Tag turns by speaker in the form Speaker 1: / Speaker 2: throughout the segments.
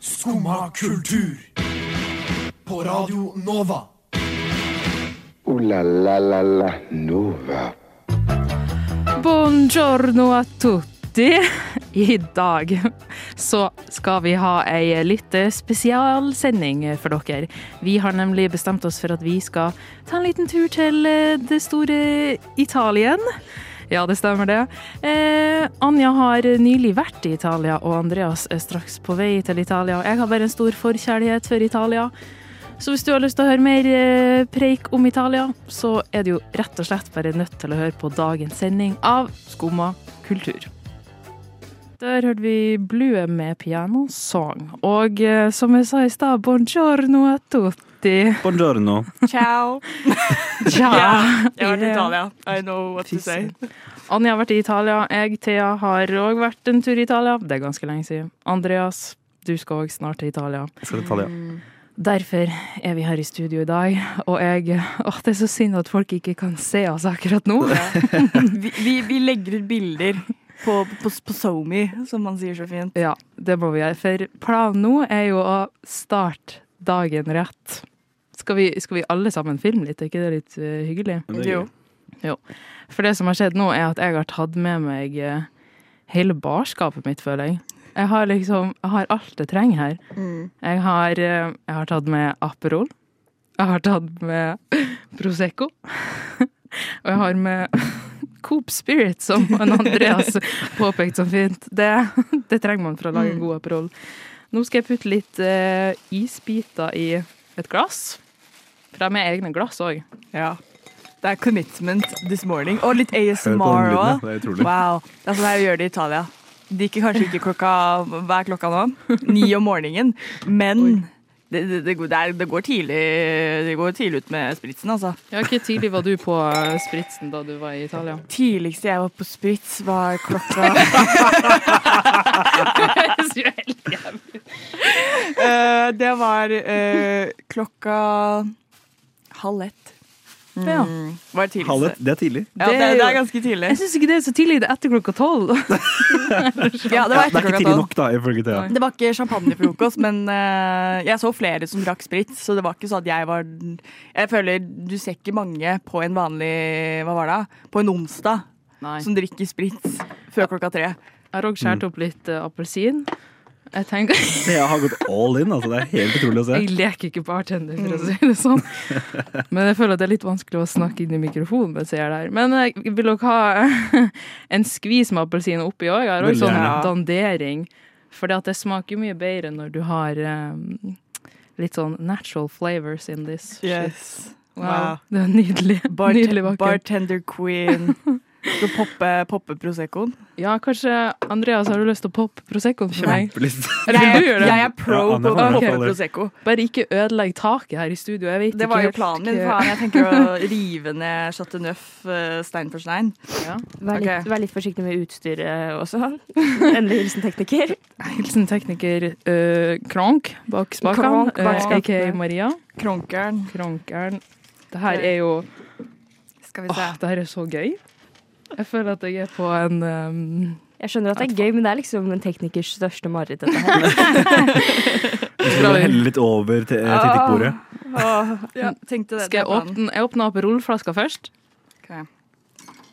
Speaker 1: Skumma kultur. På Radio Nova.
Speaker 2: Ooh la la la la Nova.
Speaker 3: Buongiorno a tutti. I dag så skal vi ha ei litt spesialsending for dere. Vi har nemlig bestemt oss for at vi skal ta en liten tur til eh, det store Italien. Ja, det stemmer det. Eh, Anja har nylig vært i Italia, og Andreas er straks på vei til Italia. Jeg har bare en stor forkjærlighet for Italia. Så hvis du har lyst til å høre mer eh, preik om Italia, så er du jo rett og slett bare nødt til å høre på dagens sending av Skumma kultur. Der hørte vi Blue med piano song. Og eh, som jeg sa i stad, buongiorno a tutti.
Speaker 4: Buongiorno.
Speaker 5: Ciao.
Speaker 3: Ja,
Speaker 5: Jeg har vært i
Speaker 3: ja.
Speaker 5: Italia. I know what
Speaker 3: Fy
Speaker 5: to say.
Speaker 3: Anja har vært i Italia. Jeg, Thea, har òg vært en tur i Italia. Det er ganske lenge siden. Andreas, du skal òg snart til Italia.
Speaker 4: Jeg skal til Italia.
Speaker 5: Mm,
Speaker 3: Derfor er vi her i studio i dag, og jeg Åh, det er så synd at folk ikke kan se oss akkurat nå.
Speaker 5: Vi, vi, vi legger ut bilder på, på, på SoMe, som man sier så fint.
Speaker 3: Ja, det må vi gjøre. For planen nå er jo å starte dagen rett. Skal vi, skal vi alle sammen filme litt? Er ikke det litt eh, hyggelig?
Speaker 4: Men det er
Speaker 5: Jo.
Speaker 4: gøy.
Speaker 3: For det som har skjedd nå, er at jeg har tatt med meg eh, hele barskapet mitt, føler jeg. Jeg har liksom jeg har alt jeg trenger her. Jeg, har, eh, jeg har tatt med Aperol. Jeg har tatt med Prosecco. Og jeg har med Coop Spirit, som en Andreas påpekte så fint. Det, det trenger man for å lage en god Aperol. Nå skal jeg putte litt eh, isbiter i et glass. For de er egne glass òg.
Speaker 5: Ja. Det er commitment this morning. Og litt
Speaker 4: Hør på den
Speaker 5: ASMR
Speaker 4: lyden, ja.
Speaker 5: òg.
Speaker 4: Det er utrolig.
Speaker 5: Wow. Det er sånn her vi gjør det i Italia. Det gikk kanskje ikke klokka Hva er klokka nå? Ni om morgenen. Men det, det, det, går- det, er, det, går tidlig, det går tidlig ut med spritsen, altså.
Speaker 3: Ja, Hvor tidlig var du på eh, spritsen da du var i Italia?
Speaker 5: Tidligste jeg var på sprits, var klokka Eh, det var eh, klokka halv ett.
Speaker 3: Ja.
Speaker 5: Mm, var det tidligste.
Speaker 4: Halv ett, det er tidlig.
Speaker 5: Ja,
Speaker 3: Det
Speaker 5: det,
Speaker 3: er jo-
Speaker 5: det er ganske tidlig.
Speaker 3: Jeg syns ikke det er så tidlig. Det er etter klokka tolv.
Speaker 5: Ja, det
Speaker 4: Ja,
Speaker 5: var
Speaker 4: det
Speaker 5: etter
Speaker 4: er ikke
Speaker 5: klokka
Speaker 4: tidlig
Speaker 5: tolv.
Speaker 4: nok, da, ifølge Thea.
Speaker 5: Det var ikke champagnefrokost, men eh, jeg så flere som drakk sprit, så det var ikke sånn at jeg var Jeg føler du ser ikke mange på en vanlig Hva var det? På en onsdag
Speaker 3: Nei.
Speaker 5: som drikker sprit før klokka tre.
Speaker 3: Jeg har òg skåret opp litt eh, appelsin. Jeg tenker,
Speaker 4: Thea har gått all in, altså. Det er helt utrolig å se.
Speaker 3: jeg leker ikke bartender, for å si det sånn. Men jeg føler at det er litt vanskelig å snakke inn i mikrofonen mens jeg er der. Men jeg vil dere ha en skvis med appelsin oppi òg? Jeg har
Speaker 4: Veldig
Speaker 3: også sånn
Speaker 5: gjerne.
Speaker 3: dandering. For det smaker jo mye bedre når du har eh, litt sånn natural flavors in this. shit. Wow.
Speaker 5: Wow.
Speaker 3: Det var nydelig.
Speaker 5: Bart
Speaker 3: nydelig vakkert.
Speaker 5: bartender queen. Skal poppe, poppe Proseccoen.
Speaker 3: Ja, kanskje Andreas, har du lyst til å poppe Proseccoen for meg?
Speaker 4: Kjempelyst.
Speaker 3: Eller
Speaker 5: Jeg,
Speaker 3: du gjør det.
Speaker 5: jeg er pro
Speaker 4: Ja, Anne
Speaker 5: på å
Speaker 4: får
Speaker 3: det.
Speaker 5: poppe
Speaker 4: Ok.
Speaker 5: Prosecco.
Speaker 3: Bare ikke ødelegg taket her i studio. Jeg vet
Speaker 5: Det
Speaker 3: ikke
Speaker 5: var jo
Speaker 3: helt
Speaker 5: planen min.
Speaker 3: hva-
Speaker 5: Faen, jeg tenker å rive ned Chateau Neuf eh, stein for stein.
Speaker 3: Ja.
Speaker 6: Vær litt,
Speaker 5: Ok.
Speaker 6: vær litt forsiktig med utstyret også. Endelig hilsen tekniker.
Speaker 3: Hilsen tekniker øh, Kronk bak spakene,
Speaker 6: Kronk bak
Speaker 3: øh, aka
Speaker 6: skapene.
Speaker 3: Maria.
Speaker 5: Kronkeren.
Speaker 3: Kronkeren. Det her er jo
Speaker 5: Skal vi se.
Speaker 3: Åh, det her er så gøy. Jeg føler at jeg er på en øhm,
Speaker 6: Jeg skjønner at det er gøy, men det er liksom en teknikers største mareritt. dette her.
Speaker 4: Jeg skal bare helle litt over til eh, teknikkbordet.
Speaker 5: Ah. Åh, ja, tenkte det.
Speaker 3: Skal jeg
Speaker 5: det er planen.
Speaker 3: åpne Jeg åpner Aperol-flaska først.
Speaker 5: Ok.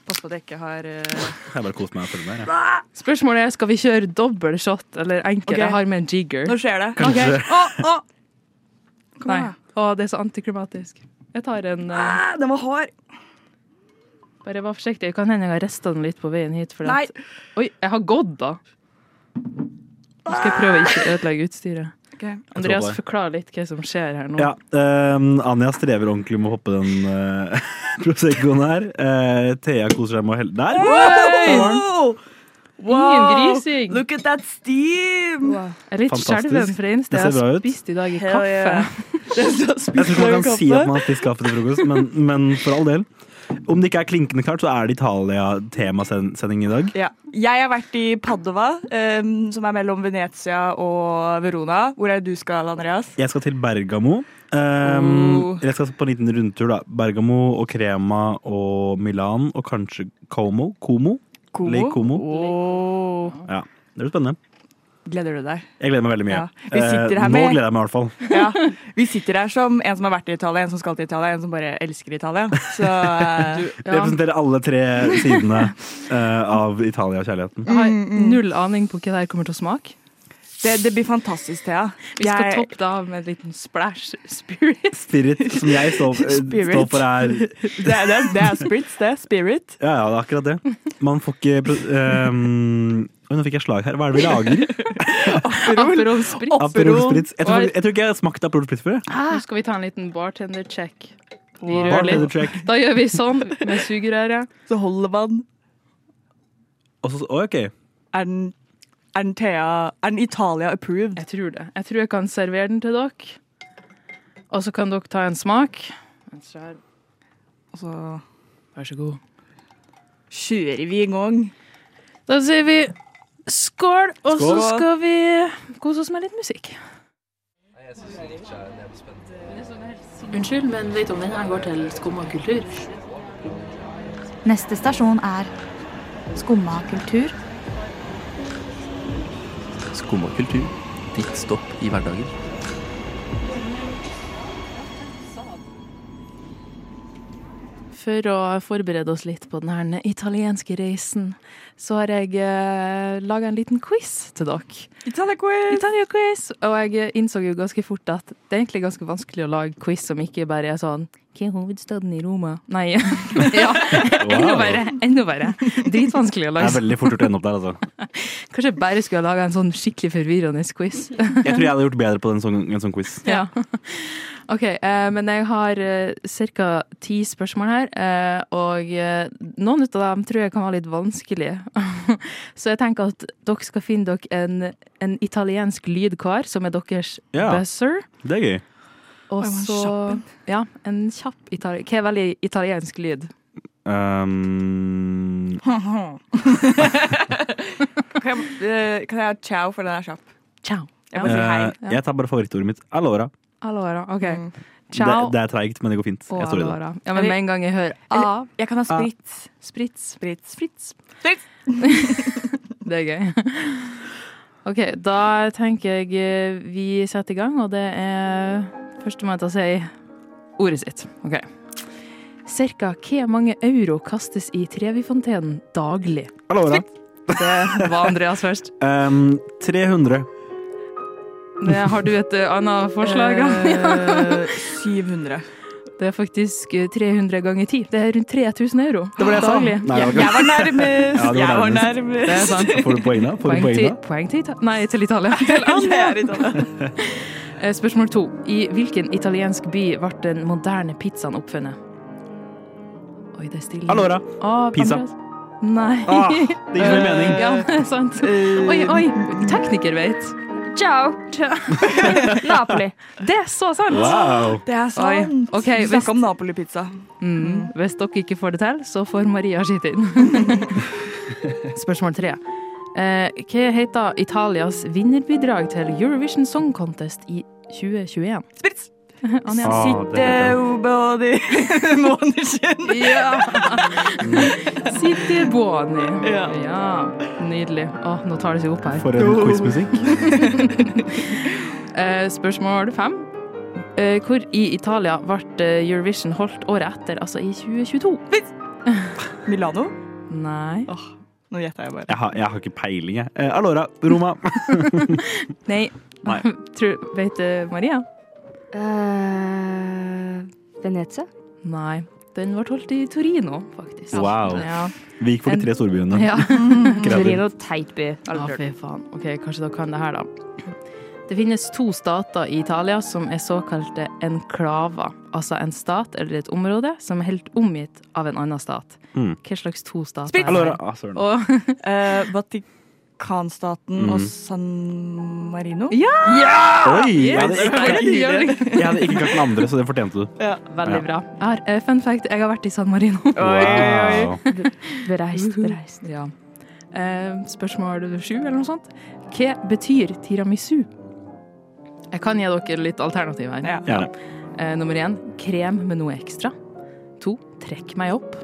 Speaker 5: Pass på at jeg ikke har eh,
Speaker 4: Jeg har bare kost meg og følge med. jeg.
Speaker 3: Spørsmålet er skal vi kjøre dobbel shot eller enkel.
Speaker 5: Ok.
Speaker 3: Jeg har med en jigger.
Speaker 5: Nå skjer det.
Speaker 4: Kanskje
Speaker 5: Ok. Åh, åh. Kom
Speaker 3: Nei.
Speaker 5: igjen,
Speaker 3: Å, det er så antiklimatisk. Jeg tar en øh,
Speaker 5: da. Den var hard.
Speaker 3: Bare vær forsiktig. Det kan hende jeg har rista den litt på veien hit. fordi
Speaker 5: Nei.
Speaker 3: at- Oi, jeg har gått, da. Nå skal jeg prøve å ikke ødelegge utstyret.
Speaker 5: Ok.
Speaker 3: Andreas,
Speaker 4: deg.
Speaker 3: forklar litt hva som skjer her nå.
Speaker 4: Ja, ehm, Anja strever ordentlig med å hoppe den eh, proseccoen her. Eh, Thea koser seg med å helle Der!
Speaker 5: Wow. Wow.
Speaker 3: grising.
Speaker 5: Look at that steam!
Speaker 3: Jeg er litt
Speaker 4: Fantastisk.
Speaker 3: skjelven fra eneste
Speaker 4: Det
Speaker 3: jeg
Speaker 4: ser bra
Speaker 3: har
Speaker 4: ut.
Speaker 3: spist i dag i
Speaker 5: Hell
Speaker 3: kaffe.
Speaker 5: yeah. Det er så
Speaker 4: Jeg tror ikke man kan
Speaker 5: spist
Speaker 4: si at man har spist kaffe til frokost, men, men for all del. Om det ikke er klinkende klart, så er det Italia-temasending i dag.
Speaker 5: Ja. Jeg har vært i Padova, em, som er mellom Venezia og Verona. Hvor er det du skal, Andreas?
Speaker 4: Jeg skal til Bergamo. Ehm,
Speaker 5: Oh.
Speaker 4: Jeg skal på en liten rundtur. da Bergamo og Crema og Milan og kanskje Como. Como? Lake Como.
Speaker 5: Åh.
Speaker 4: Ja, det blir spennende.
Speaker 5: Gleder du deg?
Speaker 4: Jeg gleder meg veldig mye.
Speaker 5: Ja. Vi sitter her
Speaker 4: Eh, Nå
Speaker 5: med-
Speaker 4: gleder jeg meg i hvert fall.
Speaker 5: Ja. Vi sitter her som en som har vært i Italia, en som skal til Italia, en som bare elsker Italia. Så eh,
Speaker 3: Ja.
Speaker 4: Representerer alle tre sidene eh, av Italia og kjærligheten.
Speaker 3: Jeg har null aning på hva det her kommer til å smake.
Speaker 5: det, det blir fantastisk, Thea.
Speaker 3: Vi skal
Speaker 5: Jeg-
Speaker 3: toppe det av med en liten splash spirit.
Speaker 4: Spirit, som jeg står, eh,
Speaker 5: Spirit.
Speaker 4: står for, er
Speaker 5: Det, er- det, er- det er spirits, det. er Spirit.
Speaker 4: Ja, ja, det er akkurat det. Man får ikke pro- ehm, Oi, nå fikk jeg slag her. Hva er det vi lager?
Speaker 3: Aperol sprit.
Speaker 4: Aperol Spritz. Jeg tror,
Speaker 3: Oi.
Speaker 4: jeg tror ikke jeg har smakt Aperol Spritz før. jeg.
Speaker 3: Nå skal vi ta en liten bartender check. Vi rører
Speaker 4: Bartender
Speaker 3: litt.
Speaker 4: track.
Speaker 3: Da gjør vi sånn med sugerøret.
Speaker 5: Så holder man
Speaker 4: Og så, oi, ok.
Speaker 5: Er den, er den Thea Er den Italia approved?
Speaker 3: Jeg tror det. Jeg tror jeg kan servere den til dere. Og så kan dere ta en smak. En svær.
Speaker 5: Og så
Speaker 3: Vær så god.
Speaker 5: kjører vi i gang.
Speaker 3: Da sier vi skål, og så
Speaker 5: Skål.
Speaker 3: skal vi kose oss med litt musikk. Unnskyld, men vet du om denne går til skum og kultur?
Speaker 7: Neste stasjon er Skumma kultur.
Speaker 8: Skum og kultur. Ditt stopp i hverdagen.
Speaker 3: For å forberede oss litt på denne italienske reisen, så har jeg eh, laga en liten quiz til dere.
Speaker 5: Italia quiz!
Speaker 3: Italia-quiz! Og jeg innså jo ganske fort at det er egentlig ganske vanskelig å lage quiz som ikke bare er sånn Hva er hovedstaden i Roma? Nei. ja, enda verre. Enda verre. Dritvanskelig å
Speaker 4: Det er
Speaker 3: lage.
Speaker 4: veldig fort gjort å ende opp der, altså.
Speaker 3: Kanskje jeg bare skulle ha laga en sånn skikkelig forvirrende quiz.
Speaker 4: Jeg tror jeg hadde gjort bedre på den sånn, en sånn quiz.
Speaker 3: Ja. OK, eh, men jeg har ca. ti spørsmål her, eh, og eh, noen av dem tror jeg kan være litt vanskelige. Så jeg tenker at dere skal finne dere en, en italiensk lydkar, som er deres
Speaker 4: Ja.
Speaker 3: buzzer.
Speaker 4: Det er gøy.
Speaker 3: Og
Speaker 5: Oi, hva
Speaker 3: så
Speaker 5: kjapp
Speaker 3: Ja, en kjapp itali Hva er veldig italiensk lyd?
Speaker 4: Ehm,
Speaker 5: Kan jeg, eh, kan jeg ha ciao, for den er kjapp?
Speaker 3: Ciao.
Speaker 5: Jeg
Speaker 3: Ja.
Speaker 5: må si hei.
Speaker 4: eh, jeg tar bare favorittordet mitt. Allora.
Speaker 3: Allora. OK.
Speaker 5: Mm.
Speaker 3: Ciao
Speaker 4: Det, det er treigt, men det går fint.
Speaker 3: og
Speaker 4: Jeg står i det.
Speaker 3: allora. Ja, men med en gang jeg hører A,
Speaker 5: Jeg kan ha spritz.
Speaker 3: sprits,
Speaker 5: Spritz.
Speaker 3: sprits
Speaker 5: Spritz.
Speaker 3: Det er gøy. OK, da tenker jeg eh, vi setter i gang, og det er førstemann til å si ordet sitt. OK. Cirka hvor mange euro kastes i Trevifontenen daglig?
Speaker 4: Allora.
Speaker 3: Det var Andreas først.
Speaker 4: Ehm, 300.
Speaker 3: Det, har du et eh, annet forslag? Ja.
Speaker 5: Eh, 700.
Speaker 3: Det er faktisk eh, 300 ganger 10. Det er rundt 3000 euro.
Speaker 4: Det var det jeg sa.
Speaker 3: Daglig.
Speaker 4: Nei, det var
Speaker 5: Jeg var nærmest!
Speaker 4: Ja, du var
Speaker 5: jeg var
Speaker 4: nærmest.
Speaker 5: nærmest.
Speaker 3: Det er sant.
Speaker 4: ikke- Får du poeng da? Får du
Speaker 3: Poeng
Speaker 4: poeng
Speaker 3: til,
Speaker 4: da?
Speaker 3: poeng til Italia. Nei, til Italia. Til
Speaker 5: Det
Speaker 3: Andrea.
Speaker 5: er Italia.
Speaker 3: Eh, Spørsmål to. I hvilken italiensk by ble den moderne pizzaen oppfunnet? Oi, det er stille.
Speaker 4: Allora.
Speaker 3: Ah,
Speaker 4: Pizza.
Speaker 3: Andreas. Nei.
Speaker 4: Ah, det gir ikke noe mening.
Speaker 3: Eh,
Speaker 4: Eh,
Speaker 3: Ja, det er sant. Oi, oi. Tekniker vet.
Speaker 6: Ciao! Napoli.
Speaker 3: Det er så sant!
Speaker 4: Wow.
Speaker 5: Det er
Speaker 3: sant.
Speaker 5: sant.
Speaker 3: Ok,
Speaker 5: Vi
Speaker 3: hvis-
Speaker 5: snakka om Napoli-pizza.
Speaker 3: Mm. Hvis dere ikke får det til, så får Maria sitt inn. Spørsmål tre. Eh, hva heter Italias vinnerbidrag til Eurovision Song Contest i 2021?
Speaker 5: Spritz!
Speaker 3: Anja.
Speaker 4: Ah, det
Speaker 5: Det
Speaker 4: heter det.
Speaker 5: ubådig måneskinn.
Speaker 3: Ja! Sitte buoni.
Speaker 5: Ja.
Speaker 3: Ja, nydelig. Å, nå tar det seg opp her.
Speaker 4: For en quizmusikk.
Speaker 3: Eh, spørsmål fem. Eh, hvor i Italia ble eh, Eurovision holdt året etter, altså i 2022?
Speaker 5: Milano?
Speaker 3: Nei.
Speaker 5: Åh, nå gjetta jeg bare.
Speaker 4: Jeg har, jeg har ikke peiling, jeg. Eh, Allora. Roma.
Speaker 3: Nei.
Speaker 4: Nei.
Speaker 3: Tror, vet du, Maria?
Speaker 6: Eh, Venezia?
Speaker 3: Nei. Den ble holdt i Torino, faktisk.
Speaker 4: Wow.
Speaker 3: Ja.
Speaker 4: Vi gikk for de tre storbyene.
Speaker 3: ja.
Speaker 4: Kreativ.
Speaker 6: Torino, teit by.
Speaker 3: Ja, fy faen. Ok, kanskje dere kan det her, da. Det finnes to stater i Italia som er såkalte enklaver, altså en stat eller et område som er helt omgitt av en annen stat.
Speaker 4: Mm.
Speaker 3: Hva slags to stater
Speaker 5: Sprit!
Speaker 4: Allora. Ah, søren.
Speaker 3: Og,
Speaker 5: Eh, Vatikanstaten
Speaker 4: Mm.
Speaker 5: og San Marino?
Speaker 3: Ja!
Speaker 4: Oi! Jeg hadde,
Speaker 3: Yes,
Speaker 4: ikke,
Speaker 3: det gjør det.
Speaker 4: jeg hadde ikke klart den andre, så det fortjente du.
Speaker 3: Veldig
Speaker 4: Ja.
Speaker 3: bra. Jeg har, eh, fun fact, jeg har vært i San Marino.
Speaker 5: Oi, oi, oi.
Speaker 4: Wow.
Speaker 6: Bereist, bereist.
Speaker 3: Ja. Eh, spørsmål sju, eller noe sånt. Hva betyr tiramisu? Jeg kan gi dere litt alternativ her.
Speaker 5: Ja.
Speaker 4: Gjerne.
Speaker 3: Eh, nummer én krem med noe ekstra. To trekk meg opp.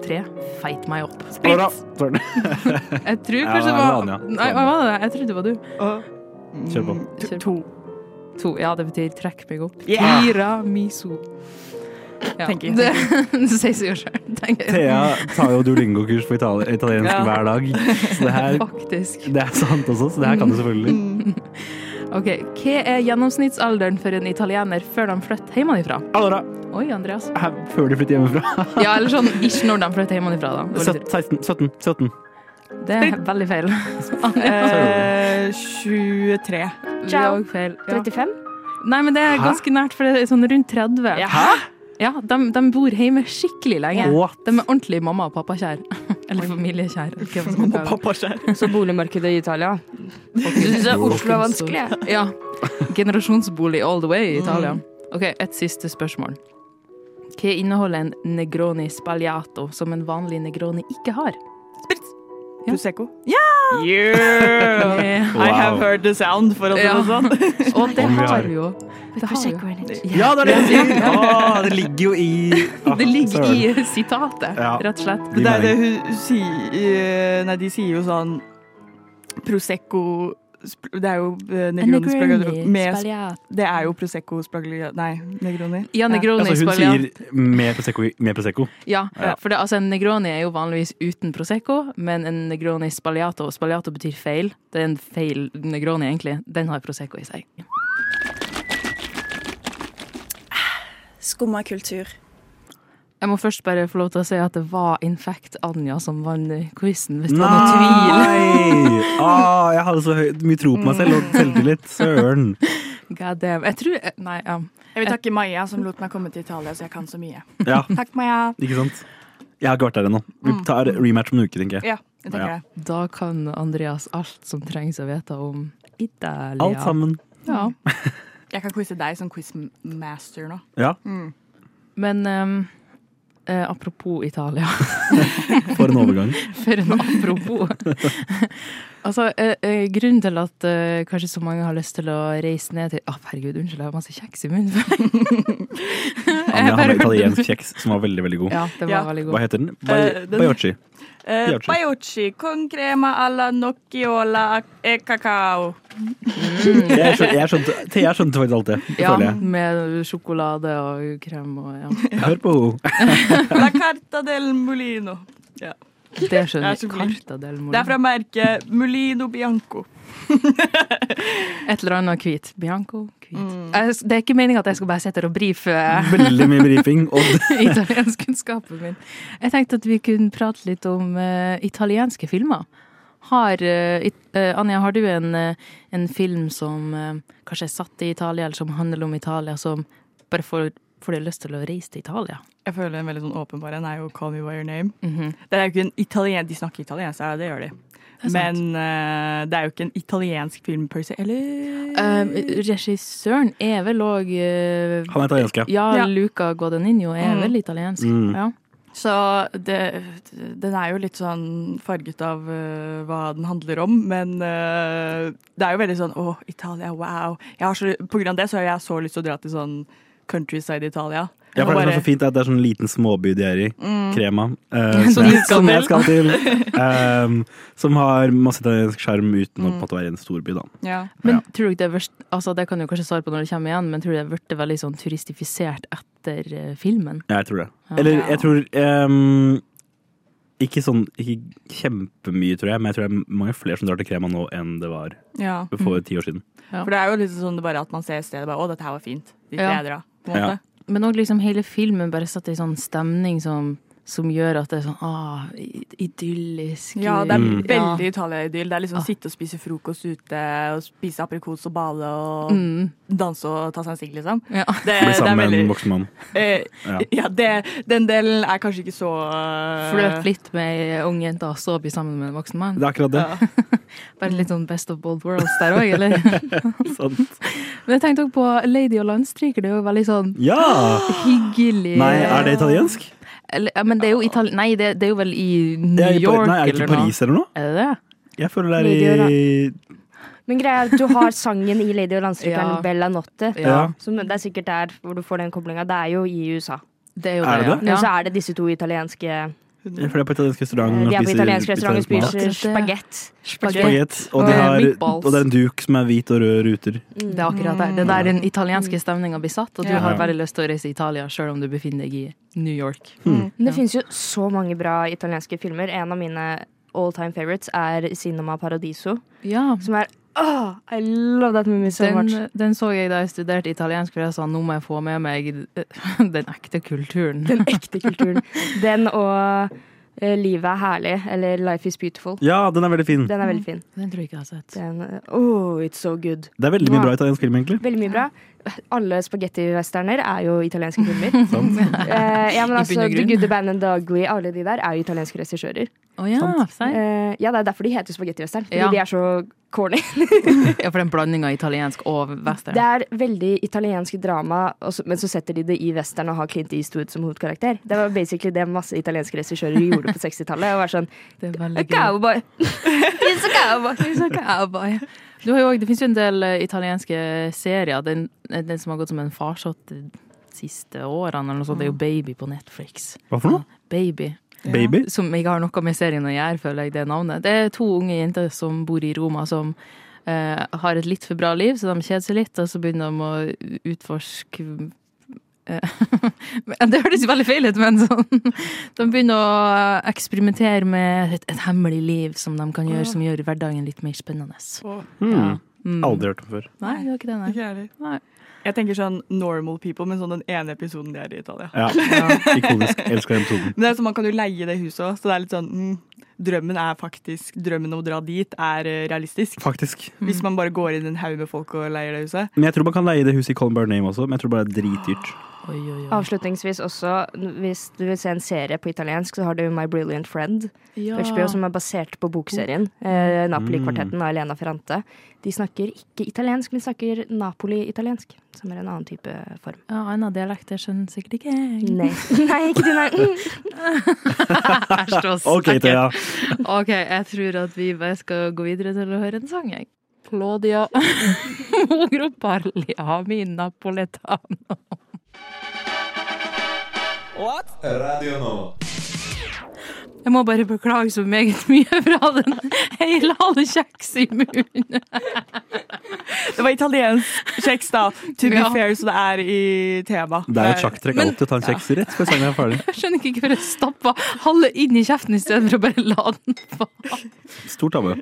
Speaker 3: tre. Feit meg opp.
Speaker 4: Nora! Sorry.
Speaker 3: Jeg tror
Speaker 4: Ja,
Speaker 3: kanskje det
Speaker 4: det
Speaker 3: var
Speaker 4: var Anja.
Speaker 3: Nei, var det det? Jeg trodde det var du.
Speaker 4: Kjør på.
Speaker 3: Kjør. To. Ja, det betyr trekk meg opp.
Speaker 5: Yeah!
Speaker 3: Tiramisu. Ja.
Speaker 5: Tenker jeg.
Speaker 3: Det, det sier seg jo sjøl, tenker jeg.
Speaker 4: Thea tar jo duolingo-kurs på itali italiensk
Speaker 5: Ja.
Speaker 4: hver dag, så det her
Speaker 3: Faktisk.
Speaker 4: det er sant også, så det her kan du selvfølgelig.
Speaker 3: Mm. OK, hva er gjennomsnittsalderen for en italiener før de flytter hjemmefra?
Speaker 4: Allora,
Speaker 3: Oi, Andreas.
Speaker 4: her, før de flytter hjemmefra.
Speaker 3: Ja, eller sånn ikke når de flytter hjemmefra, da. Det var litt-
Speaker 4: 17, 17, 17.
Speaker 3: Det er veldig feil.
Speaker 5: Eh, 23.
Speaker 3: Vi er
Speaker 6: Ciao.
Speaker 3: også feil. Ja.
Speaker 6: 35?
Speaker 3: Nei, men det er
Speaker 4: Hæ?
Speaker 3: ganske nært, for det er sånn rundt 30. Hæ? Ja, de, de bor hjemme skikkelig lenge.
Speaker 4: What?
Speaker 3: De er ordentlig mamma og pappa kjær. Eller familiekjær. eller hva man kaller det.
Speaker 6: Så boligmarkedet i Italia. Du syns Oslo er vanskelig? ja?
Speaker 3: Ja. Generasjonsbolig all the
Speaker 4: Mm.
Speaker 3: way i Italia. OK, et siste spørsmål. Hva inneholder en Negroni spagliato som en vanlig Negroni ikke har? Ja.
Speaker 5: Prosecco. Yeah! yeah!
Speaker 3: Eh,
Speaker 5: I have heard the sound, for å si
Speaker 3: Ja.
Speaker 5: det sånn.
Speaker 3: Og det
Speaker 4: Om vi
Speaker 3: har
Speaker 4: har.
Speaker 3: vi jo. Det, har vi jo.
Speaker 4: Ja, det er det jeg sier! Å, det ligger jo i Ah, Å,
Speaker 3: det ligger
Speaker 4: søren.
Speaker 3: i sitatet,
Speaker 4: Ja.
Speaker 3: rett og slett.
Speaker 4: Gi
Speaker 5: Det er det
Speaker 4: mening.
Speaker 5: hun sier eh, Nei, de sier jo sånn Prosecco sp- Det er jo eh, Negroni Spagliato med sp-
Speaker 3: spagliato.
Speaker 5: Det er jo Prosecco Spagliato Nei, Negroni.
Speaker 3: Ja, Negroni
Speaker 4: Altså, hun
Speaker 3: spagliato.
Speaker 4: sier med Prosecco. i- Med prosecco.
Speaker 3: Ja,
Speaker 4: Ja.
Speaker 3: for det, altså, en Negroni er jo vanligvis uten Prosecco, men en Negroni spagliato, og spagliato betyr feil. Det er en feil Negroni, egentlig. Den har Prosecco i seg.
Speaker 9: Skumma kultur.
Speaker 3: Jeg må først bare få lov til å si at det var Infect Anja som vant quizen, hvis det var noe tvil.
Speaker 4: Ah, jeg hadde så høy, mye tro på meg selv
Speaker 3: Mm.
Speaker 4: og selvtillit. Søren.
Speaker 3: God damn. Jeg tror eh, Nei, ja.
Speaker 5: Jeg vil takke Maja som lot meg komme til Italia, så jeg kan så mye.
Speaker 4: Ja,
Speaker 5: Takk, Maja.
Speaker 4: ikke sant? Jeg har ikke vært der ennå. Vi
Speaker 3: Mm.
Speaker 4: tar rematch om en uke, tenker jeg.
Speaker 5: Ja, jeg tenker
Speaker 4: Ja.
Speaker 5: det.
Speaker 3: Da kan Andreas alt som trengs å vite om Italia.
Speaker 4: Alt sammen.
Speaker 3: Ja.
Speaker 5: Jeg kan quize deg som quizmaster nå.
Speaker 4: Ja,
Speaker 3: Men ehm, eh, apropos Italia.
Speaker 4: for en overgang.
Speaker 3: For en apropos. altså, eh, eh, grunnen til at eh, kanskje så mange har lyst til å reise ned til Å, herregud, unnskyld, jeg har masse kjeks i munnen.
Speaker 4: Anja
Speaker 3: bare
Speaker 4: hadde
Speaker 3: hørte
Speaker 4: italiensk
Speaker 3: det.
Speaker 4: kjeks som var veldig, veldig god.
Speaker 3: ja, det var
Speaker 5: Ja.
Speaker 3: veldig
Speaker 4: Hva
Speaker 3: god.
Speaker 4: heter den?
Speaker 5: Eh,
Speaker 4: Bai-
Speaker 5: den-
Speaker 4: Baiocchi.
Speaker 5: Eh,
Speaker 4: Baiocchi.
Speaker 5: Baiocchi con crema alla nocciola e cacao.
Speaker 4: Jeg skjønte, jeg skjønte, Thea skjønte faktisk alt det,
Speaker 3: Mm. Ja,
Speaker 4: føler jeg.
Speaker 3: med sjokolade og krem og ja.
Speaker 4: Hør på henne.
Speaker 5: La carta del mulino. Ja.
Speaker 3: Det skjønner
Speaker 5: Jeg er så
Speaker 3: jeg.
Speaker 5: glad.
Speaker 3: Karta del
Speaker 5: Det er fra
Speaker 3: Moro.
Speaker 5: merket Mulino Bianco.
Speaker 3: Et eller annet hvit. Bianco hvit.
Speaker 5: Mm.
Speaker 3: Jeg s- Det er ikke meninga at jeg skal bare sitte her og brife eh,
Speaker 4: Veldig mye brifing. Og det,
Speaker 3: italienskkunnskapen min. Jeg tenkte at vi kunne prate litt om eh, italienske filmer. Har, eh, it, eh, Anja, har du en, eh, en film som eh, kanskje er satt i Italia, eller som handler om Italia, som bare får, får deg lyst til å reise til Italia?
Speaker 5: Jeg føler en veldig sånn åpenbar en er jo Call Me By Your Name. Det er jo ikke en italien, De snakker italiensk, ja, Mhm. det gjør de.
Speaker 3: er sant.
Speaker 5: Men eh, det er jo ikke en italiensk film per se. Eller
Speaker 3: Eh, regissøren er vel òg
Speaker 4: han er italiensk, ja.
Speaker 3: ja,
Speaker 5: Ja.
Speaker 3: Luca Guadagnino er
Speaker 5: Mm.
Speaker 3: vel italiensk.
Speaker 4: Mm.
Speaker 3: Ja.
Speaker 5: Så det, den er jo litt sånn farget av eh, hva den handler om, men eh, det er jo veldig sånn Å, Italia, wow. Jeg har så, på grunn av det så har jeg så lyst til å dra til sånn countryside Italia.
Speaker 4: Ja, for det
Speaker 5: Og
Speaker 4: som
Speaker 5: bare-
Speaker 4: er så fint, er at det er sånn liten småby de er i.
Speaker 3: Mm.
Speaker 4: Krema. eh,
Speaker 3: Som
Speaker 4: som,
Speaker 3: de
Speaker 4: jeg,
Speaker 3: skal
Speaker 4: som jeg skal til. eh, som har masse italiensk sjarm uten
Speaker 3: Mm.
Speaker 4: å på en måte være en storby, da.
Speaker 5: ja.
Speaker 3: Men
Speaker 4: Ja.
Speaker 3: tror du ikke det er vørst, altså det kan du kanskje svare på når det kommer igjen, men tror du det er blitt veldig sånn turistifisert etter eh, filmen?
Speaker 4: Ja, jeg tror det. Eller jeg tror ehm, Ikke sånn ikke kjempemye, tror jeg, men jeg tror det er mange flere som drar til Krema nå enn det var
Speaker 5: ja.
Speaker 3: Mm.
Speaker 4: for ti år siden.
Speaker 5: For det er jo litt sånn bare at man ser stedet bare Å, dette her var fint. Dit vil
Speaker 3: Ja.
Speaker 5: jeg dra. På en
Speaker 4: Ja.
Speaker 5: måte.
Speaker 3: Men òg liksom hele filmen bare satt i sånn stemning som, som gjør at det er sånn ah, i- idyllisk.
Speaker 5: Ja, det er
Speaker 4: Mm.
Speaker 5: veldig Italia-idyll. Det er liksom
Speaker 3: Ah.
Speaker 5: sitte og spise frokost ute, og spise aprikos og bade,
Speaker 3: Ja.
Speaker 5: og
Speaker 3: Mm,
Speaker 5: danse og ta seg en sigg, liksom.
Speaker 3: ja.
Speaker 5: Det,
Speaker 4: Bli
Speaker 5: det er
Speaker 4: sammen med
Speaker 5: veldig
Speaker 4: en voksen mann.
Speaker 5: eh,
Speaker 4: Ja.
Speaker 5: Ja, det, den delen er kanskje ikke så eh,
Speaker 3: Flørt litt med ei ung jente og så bli sammen med en voksen mann.
Speaker 4: Det er akkurat det.
Speaker 3: Bare litt sånn best of both worlds der òg, eller?
Speaker 4: Sant.
Speaker 3: Men jeg tenkte òg på Lady og landstryker. Det er jo veldig sånn
Speaker 4: Ja!
Speaker 3: hyggelig
Speaker 4: Nei, er det italiensk?
Speaker 3: Eller, ja, Men det er jo Itali... Nei, det, det er jo vel i New
Speaker 4: Jeg er i Par-
Speaker 3: York,
Speaker 4: Nei, er det ikke
Speaker 3: eller noe?
Speaker 4: Paris eller noe?
Speaker 3: Er det det?
Speaker 4: Jeg føler det er i
Speaker 6: Men greia er at du har sangen i Lady og landstrykeren
Speaker 3: Ja.
Speaker 6: Bella Notte.
Speaker 4: Ja.
Speaker 6: Som det er sikkert der hvor du får den koblinga. Det er jo i USA.
Speaker 3: Det er jo
Speaker 4: Er det
Speaker 3: det?
Speaker 6: Men
Speaker 3: ja.
Speaker 6: så
Speaker 3: Ja.
Speaker 6: er det disse to italienske
Speaker 4: Ja, For det er på italiensk restaurant. og
Speaker 6: De er på
Speaker 4: spiser
Speaker 6: italiensk restaurant og
Speaker 4: italiensk mat.
Speaker 6: spiser
Speaker 3: Dette-
Speaker 6: spagett.
Speaker 3: Spagett.
Speaker 4: Spagett. Og, de
Speaker 3: Og
Speaker 4: har,
Speaker 3: meatballs.
Speaker 4: og det er en duk som er hvit og rød ruter.
Speaker 3: Det er akkurat det. Det er der den italienske stemninga blir satt, og du
Speaker 5: Ja.
Speaker 3: har veldig lyst til å reise til Italia sjøl om du befinner deg i New York.
Speaker 6: Men det
Speaker 3: Ja.
Speaker 6: finnes jo så mange bra italienske filmer. En av mine all time favorites er Cinema Paradiso,
Speaker 3: Ja,
Speaker 6: som er
Speaker 5: Ah,
Speaker 6: Åh, I love that movie so much.
Speaker 3: den, den så jeg da jeg studerte italiensk, for jeg sa nå må jeg få med meg den ekte kulturen.
Speaker 6: Den ekte kulturen. Den og eh, Livet er herlig, eller Life is beautiful.
Speaker 4: Ja, den er veldig fin.
Speaker 6: Den er veldig fin.
Speaker 3: Den tror jeg ikke jeg har sett.
Speaker 6: Den, eh, oh, it's so good.
Speaker 4: Det er veldig mye bra italiensk film, egentlig.
Speaker 6: Veldig mye bra. Alle spagettiwesterner er jo italienske filmer.
Speaker 4: Sant?
Speaker 6: Eh, ja, men
Speaker 3: I bunn
Speaker 6: altså,
Speaker 3: og
Speaker 6: The
Speaker 3: grunn.
Speaker 6: Good, The Bad and The Ugly, alle de der er jo italienske regissører.
Speaker 3: Å ja, serr.
Speaker 6: Eh, ja, det er derfor de heter spagettiwestern, fordi
Speaker 3: Ja.
Speaker 6: de er så corny.
Speaker 3: ja, for den blandinga italiensk og
Speaker 6: Det
Speaker 3: western.
Speaker 6: er veldig italiensk drama, og så- men så setter de det i western og har Clint Eastwood som hovedkarakter. Det var basically det masse italienske regissører gjorde på 60-tallet. Og var sånn
Speaker 3: Det er
Speaker 6: A
Speaker 3: veldig gøy.
Speaker 6: cowboy! He's a cowboy!
Speaker 3: Cowboy. Du har jo, også- det finnes jo en del eh, italienske serier. Den, eh, den som har gått som en farsott de siste årene, eller noe sånt, det er jo Baby på Netflix.
Speaker 4: Hva for noe?
Speaker 3: Baby.
Speaker 4: Baby?
Speaker 3: Som ikke har noe med serien å gjøre, føler jeg, det navnet. Det er to unge jenter som bor i Roma, som eh, har et litt for bra liv, så de kjeder seg litt, og så begynner de å utforske eh, det høres jo veldig feil ut, men sånn De begynner å eksperimentere med et, et hemmelig liv som de kan gjøre, som gjør hverdagen litt mer spennende.
Speaker 4: Hmm.
Speaker 3: Mm.
Speaker 4: Aldri hørt om før.
Speaker 3: Nei, det var ikke det, nei.
Speaker 5: Ikke jeg
Speaker 3: Nei.
Speaker 5: heller. Jeg tenker sånn normal people, men sånn den ene episoden de er i Italia.
Speaker 4: Ja, Ikonisk. Elsker den episoden.
Speaker 5: Men det er sånn, Man kan jo leie det huset òg, så det er litt sånn mm, Drømmen er faktisk Drømmen om å dra dit er eh, realistisk.
Speaker 4: Faktisk.
Speaker 3: Mm.
Speaker 5: Hvis man bare går inn en haug med folk og leier det huset.
Speaker 4: Men jeg tror man kan leie det huset i Columbar Name også, men jeg tror bare det er dritdyrt.
Speaker 3: Oi, oi, oi.
Speaker 6: Avslutningsvis også, hvis du vil se en serie på italiensk, så har du My Brilliant Friend på HBO, som er basert på bokserien. Eh, Napoli-kvartetten av Elena Ferrante. De snakker ikke italiensk, men de snakker Napoli-italiensk, som er en annen type form.
Speaker 3: Ja, annen dialekt, det skjønner sikkert ikke jeg.
Speaker 6: Nei, Nei ikke din, nei. Mm.
Speaker 3: Æsj, det var
Speaker 4: Ok,
Speaker 3: ekkelt.
Speaker 4: Thea.
Speaker 3: Ok, jeg tror at vi bare skal gå videre til å høre en sang, jeg. Claudia Mogroparli Ami Napoletano.
Speaker 1: Radio Nova.
Speaker 3: Jeg må bare beklage så meget mye fra den hele halve kjeks i munnen.
Speaker 5: Det var italiensk kjeks, da. To be
Speaker 3: Ja.
Speaker 5: fair, så det er i tema.
Speaker 4: Det er jo et sjakktrekk
Speaker 3: Men-
Speaker 4: alltid å ta en kjeks rett før sangen er ferdig.
Speaker 3: Jeg skjønner ikke hvorfor jeg stappa halve inn i kjeften i stedet for å bare la den få.
Speaker 4: Stor tabbe.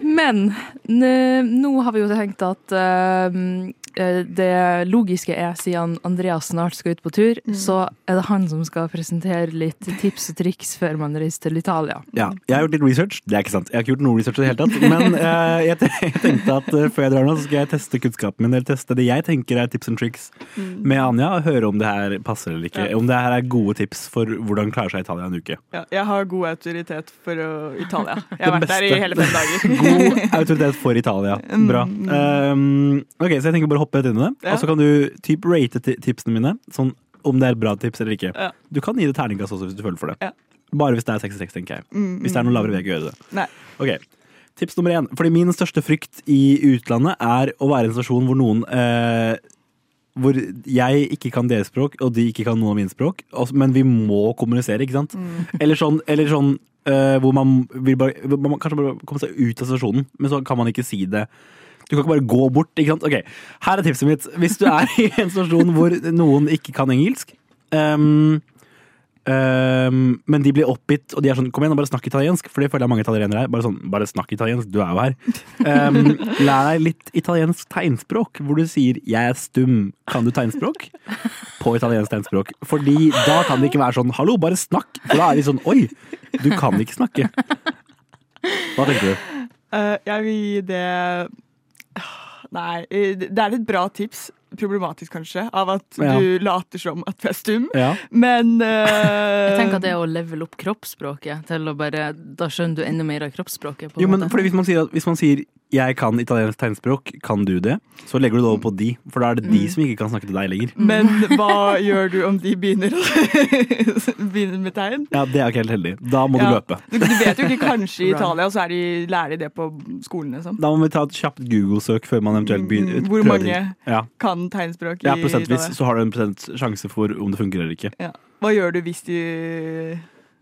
Speaker 3: Men n- nå har vi jo tenkt at eh, eh, det logiske er, siden Andreas snart skal ut på tur, så er det han som skal presentere litt tips og triks før man reiser til Italia.
Speaker 4: Ja, jeg har gjort litt research. Det er ikke sant. Jeg har ikke gjort noe research i det hele tatt. Men eh, jeg, te jeg tenkte at eh, før jeg drar nå, så skal jeg teste kunnskapen min, eller teste det jeg tenker er tips and tricks
Speaker 5: Mm.
Speaker 4: med Anja, og høre om det her passer eller ikke. Om det her er gode tips for hvordan klare seg i Italia en uke.
Speaker 5: Ja, jeg har god autoritet for å, Italia. Jeg har
Speaker 4: Det
Speaker 5: vært der i
Speaker 4: beste.
Speaker 5: hele fem dager.
Speaker 4: God autoritet for Italia. Bra. Um, ok, så jeg tenker bare å hoppe rett inn i det.
Speaker 5: Mm. Ja.
Speaker 4: Og så kan du typ rate ti- tipsene mine, sånn om det er bra tips eller ikke.
Speaker 5: Ja.
Speaker 4: Du kan gi det terningkast også hvis du føler for det.
Speaker 5: Ja.
Speaker 4: Bare hvis det er 66, tenker jeg.
Speaker 5: Mm.
Speaker 4: Hvis det er noe lavere, vil jeg ikke gjøre det.
Speaker 5: Nei.
Speaker 4: Ok, Tips nummer én. Fordi min største frykt i utlandet er å være i en stasjon hvor noen eh, hvor jeg ikke kan deres språk, og de ikke kan noe av mine språk. og- Men vi må kommunisere, ikke sant? Eller sånn, eller sånn eh, hvor man vil bare hvor Man kanskje bare komme seg ut av stasjonen, men så kan man ikke si det. Du kan ikke bare gå bort. ikke sant? Ok, Her er tipset mitt. Hvis du er i en stasjon hvor noen ikke kan engelsk, ehm, ehm, men de blir oppgitt, og de er sånn 'kom igjen, og bare snakk italiensk', for det føler jeg mange italienere er. Bare sånn, bare snakk italiensk, du er jo her. Ehm, lær deg litt italiensk tegnspråk, hvor du sier 'jeg er stum, kan du tegnspråk?' på italiensk tegnspråk. Fordi da kan det ikke være sånn 'hallo, bare snakk', for da er de sånn 'oi, du kan ikke snakke'. Hva tenker du?
Speaker 5: Eh, jeg vil gi det Nei, eh, det er et bra tips. Problematisk, kanskje, av at
Speaker 4: Ja.
Speaker 5: du later som at du er stum,
Speaker 4: Ja.
Speaker 5: men eh,
Speaker 3: Jeg tenker
Speaker 4: Um,
Speaker 3: at det er å level opp kroppsspråket til å bare Da skjønner du enda mer av kroppsspråket. På en
Speaker 4: Jo, men
Speaker 3: måte.
Speaker 4: fordi hvis man sier, at, hvis man sier 'jeg kan italiensk tegnspråk, kan du det', så legger du det over på de, for da er det de som ikke kan snakke til deg lenger.
Speaker 5: Men hva gjør du om de begynner, å- begynner med tegn?
Speaker 4: Ja, Det er ikke helt heldig. Da må du
Speaker 5: Ja.
Speaker 4: løpe.
Speaker 5: Du, du vet jo ikke, kanskje i
Speaker 3: Run.
Speaker 5: Italia så er de, lærer de det på skolen, liksom.
Speaker 4: Da må vi ta et kjapt Google-søk før man eventuelt begynner.
Speaker 5: Mm, hvor
Speaker 4: prøver
Speaker 5: mange?
Speaker 4: ting. Ja.
Speaker 5: Kan tegnspråk i
Speaker 4: ja, prosentvis
Speaker 5: Italia.
Speaker 4: så har du en prosent sjanse for om det fungerer eller ikke.
Speaker 5: Ja. Hva gjør du hvis de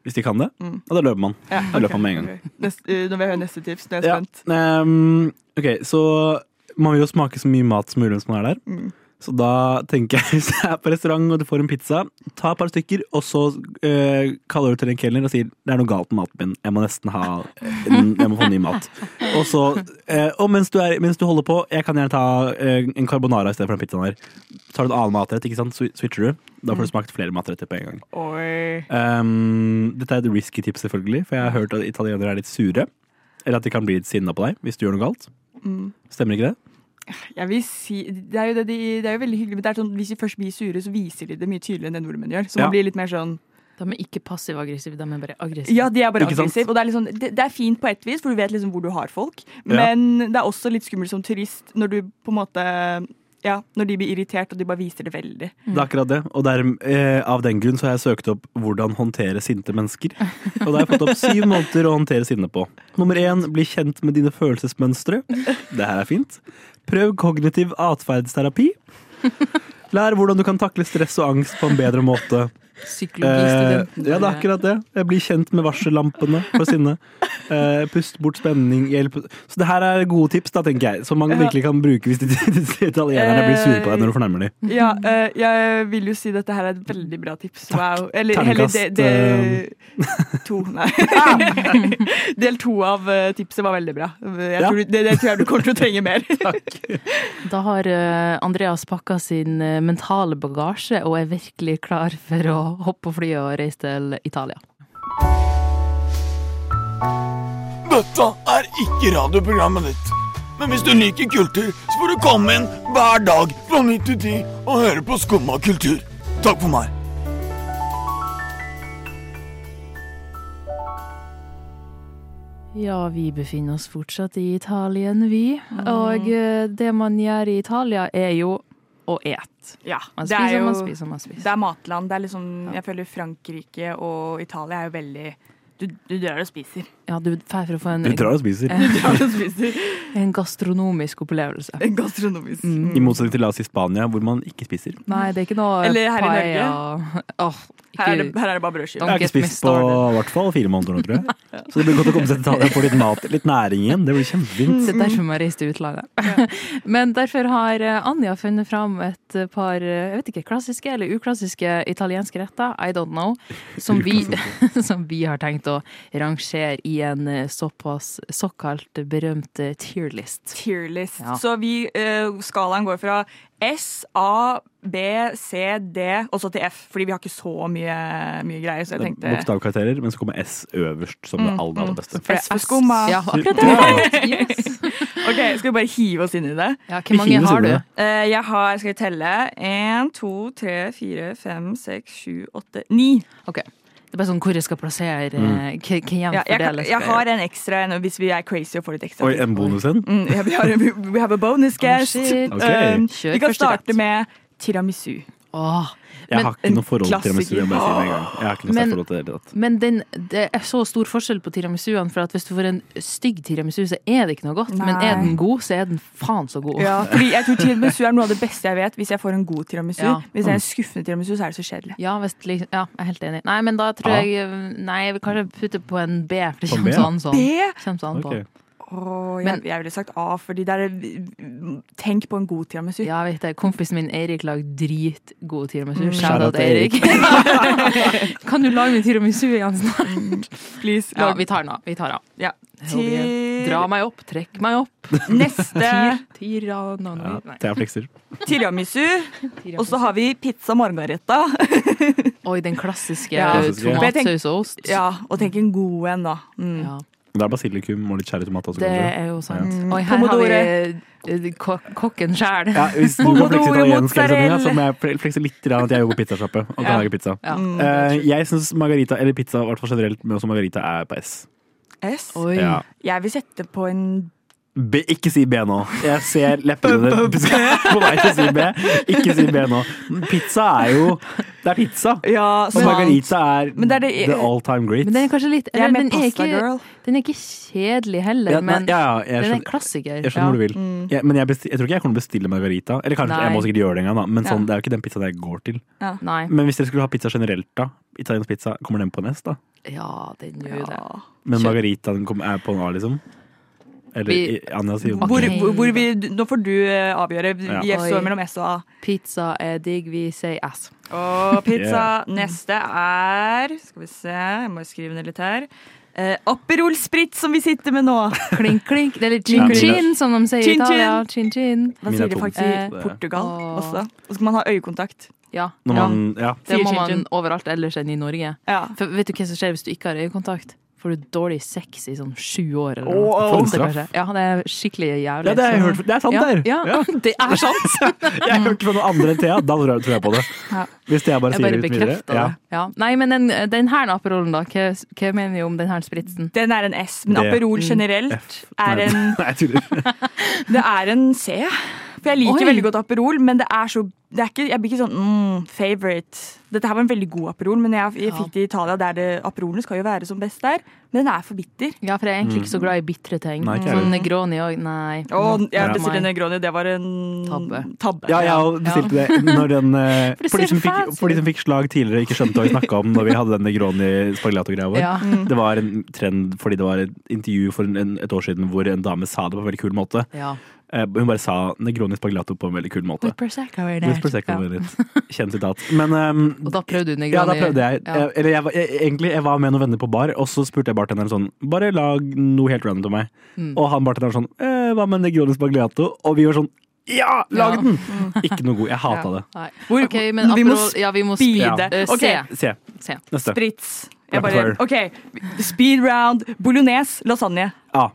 Speaker 4: Hvis de kan det,
Speaker 5: Mm.
Speaker 4: ja, da løper man.
Speaker 5: ja,
Speaker 4: Da løper
Speaker 5: ok,
Speaker 4: han med en
Speaker 5: ok. Neste, eh, nå vil jeg høre neste tips. Nå er jeg
Speaker 4: Ja,
Speaker 5: spent.
Speaker 4: ehm, ok, så man vil jo smake så mye mat som mulig mens man er der.
Speaker 5: Mm.
Speaker 4: Så da tenker jeg, hvis jeg er på restaurant og du får en pizza, ta et par stykker, og så eh, kaller du til en kelner og sier det er noe galt med maten min, jeg må nesten ha en, jeg må få ny mat. Og så, eh, og mens du, er, mens du holder på, jeg kan gjerne ta eh, en carbonara i stedet for den pizzaen her. Tar du en annen matrett, ikke sant, Swi- switcher du. Da
Speaker 5: Mm.
Speaker 4: får du smakt flere matretter på en gang.
Speaker 5: Oi.
Speaker 4: Ehm, dette er et risky tips selvfølgelig, for jeg har hørt at italienere er litt sure. Eller at de kan bli litt sinna på deg hvis du gjør noe galt.
Speaker 5: Mm.
Speaker 4: Stemmer ikke det?
Speaker 5: Jeg vil si, det er jo, det de, det er jo veldig hyggelig, men det er sånn, hvis de først blir sure, så viser de det mye tydeligere enn det nordmenn gjør. Så
Speaker 4: Ja.
Speaker 5: man blir litt mer sånn
Speaker 10: De er ikke passiv-aggressive, de er bare aggressive.
Speaker 5: Ja, de er bare
Speaker 4: Ikke sant?
Speaker 5: aggressive. Og det er, litt sånn- det, det er fint på ett vis, for du vet liksom hvor du har folk.
Speaker 4: Ja.
Speaker 5: Men det er også litt skummelt som turist når du på en måte ja, Når de blir irritert, og de bare viser det veldig.
Speaker 4: Det er akkurat det. Og der, eh, av den grunn så har jeg søkt opp hvordan håndtere sinte mennesker. Og da har jeg fått opp syv måter å håndtere sinne på. Nummer én, bli kjent med dine følelsesmønstre. Det her er fint. Prøv kognitiv atferdsterapi. Lær hvordan du kan takle stress og angst på en bedre måte. Eh,
Speaker 10: Psykologistudenten.
Speaker 4: ja, det er akkurat det. Jeg blir kjent med varsellampene for sinne. Eh, pust bort spenning, hjelp Så det her er gode tips, da, tenker jeg. Som man
Speaker 5: Ja.
Speaker 4: virkelig kan bruke hvis de- disse italienerne blir sure på deg når du fornærmer dem.
Speaker 5: Ja, eh, jeg vil jo si dette her er et veldig bra tips. Wow. Eller heller det,
Speaker 4: Terningkast, eh.
Speaker 5: det To, nei. Del to av eh, tipset var veldig bra. Jeg
Speaker 4: Ja.
Speaker 5: tror, du- det, det tror jeg du kommer til å trenge mer.
Speaker 10: Da har eh, Andreas pakka sin eh, mentale bagasje og er virkelig klar for å hoppe på flyet og reise til Italia.
Speaker 9: Dette er ikke radioprogrammet ditt. Men hvis du liker kultur, så får du komme inn hver dag fra 9 til 10 og høre på Skumma kultur. Takk for meg.
Speaker 10: Ja, vi befinner oss fortsatt i Italien, vi. Og eh, det man gjør i Italia, er jo å ete.
Speaker 5: Ja,
Speaker 10: Man
Speaker 5: det er
Speaker 10: spiser,
Speaker 5: jo
Speaker 10: man spiser, man
Speaker 5: Det
Speaker 10: spiser.
Speaker 5: er matland. Det er liksom, jeg føler Frankrike og Italia er jo veldig Du, du drar og spiser.
Speaker 10: Ja, du drar for å få en,
Speaker 4: Du drar og spiser.
Speaker 10: Eh,
Speaker 5: Du drar og spiser.
Speaker 10: en gastronomisk opplevelse.
Speaker 5: En gastronomisk.
Speaker 10: mm.
Speaker 4: I motsetning til la oss si Spania, hvor man ikke spiser.
Speaker 10: Nei, det er ikke noe
Speaker 5: Eller her i
Speaker 10: paella. Åh, ikke,
Speaker 5: Her er det, her er det bare brødskiver.
Speaker 10: Don't
Speaker 4: Jeg har
Speaker 10: get
Speaker 4: ikke
Speaker 10: me
Speaker 4: spist på
Speaker 10: started.
Speaker 4: i hvert fall fire måneder nå, tror jeg. Så det blir godt å komme seg til Italia og få litt mat, litt næring igjen. Det blir kjempefint.
Speaker 5: Mm.
Speaker 10: Det er derfor man reiser til utlandet. Men derfor har eh, Anja funnet fram et eh, par eh, jeg vet ikke, klassiske eller uklassiske italienske retter, I don't know, som vi, som vi har tenkt å rangere i en eh, såpass såkalt berømt eh, tier list.
Speaker 5: Tier list.
Speaker 10: Ja.
Speaker 5: Så vi, eh, skalaen går fra S, A, B, C, D, og så til F. Fordi vi har ikke så mye, mye greier, så jeg tenkte
Speaker 4: Bokstavkarakterer, men så kommer S øverst som
Speaker 10: Mm,
Speaker 4: det aller, aller beste.
Speaker 5: For det er skumma.
Speaker 10: Ja, akkurat det. Yes.
Speaker 5: Ok, Skal vi bare hive oss inn i det?
Speaker 10: Ja, hvor mange
Speaker 4: Fine
Speaker 10: har du?
Speaker 4: sider.
Speaker 5: Eh, jeg har, skal vi telle, én, to, tre, fire, fem, seks, sju, åtte, ni.
Speaker 10: Ok, det er bare sånn hvor jeg skal plassere, eh, hva hva igjen
Speaker 5: Mm. Ja, jeg, kan-
Speaker 10: fordeles.
Speaker 5: jeg har en ekstra en hvis vi er crazy og får litt ekstra.
Speaker 4: Oi, en bonus en?
Speaker 5: Mm, ja, vi har en, we have a bonus guest.
Speaker 10: Oh, shit.
Speaker 4: Ok.
Speaker 5: Um,
Speaker 10: Kjør
Speaker 5: vi kan
Speaker 10: første
Speaker 5: starte
Speaker 10: rett.
Speaker 5: med tiramisu.
Speaker 10: Åh,
Speaker 4: Jeg har
Speaker 5: Men
Speaker 4: ikke noe forhold til
Speaker 5: klassiker.
Speaker 4: tiramisu. Jeg, bare sier det med en gang. jeg har ikke noe
Speaker 10: Men-
Speaker 4: sterkt forhold til det i det hele tatt.
Speaker 10: Men den, det er så stor forskjell på tiramisuene, for at hvis du får en stygg tiramisu, så er det ikke noe godt. Men er
Speaker 5: Nei.
Speaker 10: den god, så er den faen så god.
Speaker 5: Ja, fordi jeg tror tiramisu er noe av det beste jeg vet, hvis jeg får en god tiramisu.
Speaker 10: Ja. Mm.
Speaker 5: Hvis jeg er en skuffende tiramisu, så er det så kjedelig.
Speaker 10: Ja, hvis, det liksom- ja, jeg er helt enig. Nei, men da tror
Speaker 4: Ja.
Speaker 10: jeg Nei, jeg vil kanskje putte på en B, for det
Speaker 4: På en
Speaker 10: kommer
Speaker 4: B?
Speaker 10: så an sånn.
Speaker 5: B?
Speaker 10: Kommer så an på.
Speaker 4: Ok.
Speaker 5: Åh, jeg,
Speaker 10: Men-
Speaker 5: jeg ville sagt A, fordi det er Tenk på en god tiramisu.
Speaker 10: Ja, jeg vet det. Kompisen min Eirik lager dritgod tiramisu. Shout
Speaker 4: Shout out
Speaker 10: out Eirik. kan du lage meg tiramisu igjen snart?
Speaker 5: Please,
Speaker 10: Ja,
Speaker 5: lag
Speaker 10: vi tar den av. Vi tar den av.
Speaker 5: Ja.
Speaker 10: Til... Dra meg opp, trekk meg opp.
Speaker 5: neste
Speaker 4: Ja,
Speaker 10: Tiranomi. Nei,
Speaker 4: Thea flekser.
Speaker 5: tiramisu. Og
Speaker 10: tiramisu.
Speaker 5: så har vi pizza margareta.
Speaker 10: Oi, den klassiske
Speaker 5: Ja.
Speaker 10: tomatsaus og ost.
Speaker 5: Ja, og tenk en god en, da. Mm.
Speaker 10: Ja.
Speaker 4: Det er basilikum og litt cherrytomat også,
Speaker 10: Det
Speaker 4: kanskje.
Speaker 10: er jo sant.
Speaker 5: Ja.
Speaker 10: Og her har vi
Speaker 5: Pomodore.
Speaker 10: eh, ko kokken sjæl.
Speaker 4: Ja, hvis du kan flekse
Speaker 5: Pomodoro,
Speaker 4: italiensk, eller sånn, ja, så
Speaker 5: mozzarella.
Speaker 4: må jeg fle- flekse litt grann at jeg jobber på pizzasjappe og kan
Speaker 5: Ja.
Speaker 4: lage pizza.
Speaker 10: Ja.
Speaker 4: Eh, jeg syns margarita, eller pizza i hvert fall generelt, men også margarita er på S.
Speaker 5: S.
Speaker 10: Oi.
Speaker 4: Ja.
Speaker 5: Jeg vil sette på en
Speaker 4: B, ikke si B nå. Jeg ser leppene dine på vei til å si B. Ikke si B nå. Pizza er jo Det er pizza!
Speaker 5: Ja,
Speaker 4: Og
Speaker 5: sant.
Speaker 4: margarita er
Speaker 5: Men det er det-
Speaker 4: the all time great.
Speaker 10: Men den er kanskje litt
Speaker 5: Jeg er
Speaker 10: eller,
Speaker 5: med
Speaker 10: den, er
Speaker 5: pasta,
Speaker 10: ikke,
Speaker 5: girl.
Speaker 10: den er ikke kjedelig heller,
Speaker 4: ja, nei,
Speaker 10: men
Speaker 4: ja, ja, jeg
Speaker 10: den er en
Speaker 4: skjønner,
Speaker 10: klassiker.
Speaker 4: jeg skjønner
Speaker 10: ja. Mm.
Speaker 4: hvor du vil. Jeg- men jeg, besti- jeg tror ikke jeg kommer til å bestille margarita. Eller kanskje, jeg
Speaker 10: Nei.
Speaker 4: må sikkert gjøre det en gang, da. Men
Speaker 5: Ja.
Speaker 4: sånn, det er jo ikke den pizzaen jeg går til.
Speaker 10: Nei.
Speaker 4: Men hvis dere skulle ha pizza generelt, da? Italiensk pizza, kommer den på nest, da?
Speaker 10: Ja, den gjør jo det.
Speaker 5: Ja.
Speaker 4: Men
Speaker 10: Kjør.
Speaker 4: margaritaen kom, er på en A, liksom? Eller
Speaker 10: Vi-
Speaker 4: i- Anja sier jo
Speaker 5: Hvor,
Speaker 10: Ok.
Speaker 5: hvor, hvor vi, nå får du eh, avgjøre. Vi
Speaker 4: Ja.
Speaker 5: jeg
Speaker 10: Oi.
Speaker 5: står mellom S og A.
Speaker 10: Pizza er digg, vi sier ass.
Speaker 5: Og pizza
Speaker 4: Yeah.
Speaker 5: neste er Skal vi se, jeg må skrive ned litt her. Eh, Aperol Spritz, som vi sitter med nå.
Speaker 10: Klink, klink. Det er litt
Speaker 4: Ja, men-
Speaker 10: chin-chin, som de sier i
Speaker 5: Chin, chin.
Speaker 10: Italia. Chin-chin.
Speaker 5: Hva
Speaker 4: Mine
Speaker 5: sier de
Speaker 4: to.
Speaker 5: faktisk
Speaker 10: Eh,
Speaker 5: i Portugal
Speaker 10: åh.
Speaker 5: også? Og så skal man ha øyekontakt.
Speaker 10: Ja.
Speaker 4: Når
Speaker 10: ja.
Speaker 4: man, ja.
Speaker 10: Det
Speaker 5: Sier
Speaker 10: må
Speaker 5: chin-chin.
Speaker 10: man overalt ellers enn i Norge.
Speaker 5: Ja.
Speaker 10: For vet du hva som skjer hvis du ikke har øyekontakt? Får du dårlig sex i sånn sju år eller noe?
Speaker 5: Åh.
Speaker 4: For en
Speaker 10: Åtte,
Speaker 4: straff.
Speaker 10: kanskje. Ja, det er skikkelig jævlig.
Speaker 4: Ja, det har jeg hørt. Det er sant,
Speaker 10: ja,
Speaker 4: det her.
Speaker 10: Ja,
Speaker 4: Ja.
Speaker 10: det er sant!
Speaker 4: Jeg har hørt fra noen andre enn Thea, da tror jeg- tror jeg på det.
Speaker 5: Ja.
Speaker 4: Hvis Thea bare
Speaker 10: Jeg
Speaker 4: sier
Speaker 10: bare
Speaker 4: det uten videre.
Speaker 10: bekrefter det.
Speaker 4: Ja.
Speaker 10: Ja. Nei, men den, den her Aperollen, da. Hva, hva mener vi om den her spritsen?
Speaker 5: Den er en S, men
Speaker 4: Det.
Speaker 5: Aperol
Speaker 10: Mm.
Speaker 5: generelt
Speaker 4: Nei,
Speaker 5: er en,
Speaker 4: Nei, jeg tuller.
Speaker 5: det er en C. For jeg liker
Speaker 10: Oi.
Speaker 5: veldig godt Aperol, men det er så det er ikke, jeg blir ikke sånn mm, favorite. Dette her var en veldig god Aperol, men jeg, jeg
Speaker 10: Ja.
Speaker 5: fikk det i Italia, der det, Aperolene skal jo være som best der. Men den er for bitter.
Speaker 10: Ja, for jeg er egentlig ikke så glad i bitre ting.
Speaker 4: Mm. Nei, ikke jeg
Speaker 10: sånn Negroni òg, nei.
Speaker 5: Og jeg
Speaker 10: Nei.
Speaker 5: bestilte Negroni, det var en
Speaker 10: Tabbe.
Speaker 4: Ja, jeg bestilte det når den eh,
Speaker 10: For det
Speaker 4: For de
Speaker 10: ser
Speaker 4: som fikk,
Speaker 10: fancy
Speaker 4: for de som fikk slag tidligere, ikke skjønte hva vi snakka om når vi hadde den Negroni spagliato-greia vår.
Speaker 10: Ja. Mm.
Speaker 4: Det var en trend fordi det var et intervju for en- en, et år siden hvor en dame sa det på en veldig kul måte.
Speaker 10: Ja.
Speaker 4: Eh, Hun bare sa Negroni spagliato på en veldig kul måte.
Speaker 10: Prosecco er
Speaker 4: With Prosecco
Speaker 10: Ja.
Speaker 4: med litt. Kjent sitat. Men ehm,
Speaker 10: Og da prøvde du Negroni.
Speaker 4: ja, da prøvde jeg.
Speaker 10: Ja.
Speaker 4: Eh, Eller jeg, var- jeg, egentlig, jeg var med noen venner på bar, og så spurte jeg bartenderen sånn Bare lag noe helt random til meg.
Speaker 10: Mm.
Speaker 4: Og han bartenderen sånn eh, Hva med Negroni spagliato? Og vi var sånn Ja, lag
Speaker 10: Ja. Mm.
Speaker 4: den! Ikke noe god. Jeg hata det.
Speaker 10: Nei.
Speaker 5: Hvor-
Speaker 10: Ok, men
Speaker 5: vi må
Speaker 10: Aperol- ja, vi må
Speaker 5: speede.
Speaker 10: sp- eh,
Speaker 5: Ok.
Speaker 10: se.
Speaker 4: Se.
Speaker 10: se.
Speaker 4: Neste.
Speaker 5: Spritz.
Speaker 4: Rapid
Speaker 5: Jeg bare,
Speaker 4: fire.
Speaker 5: ok, Speed round, bolognese, lasagne.
Speaker 4: A.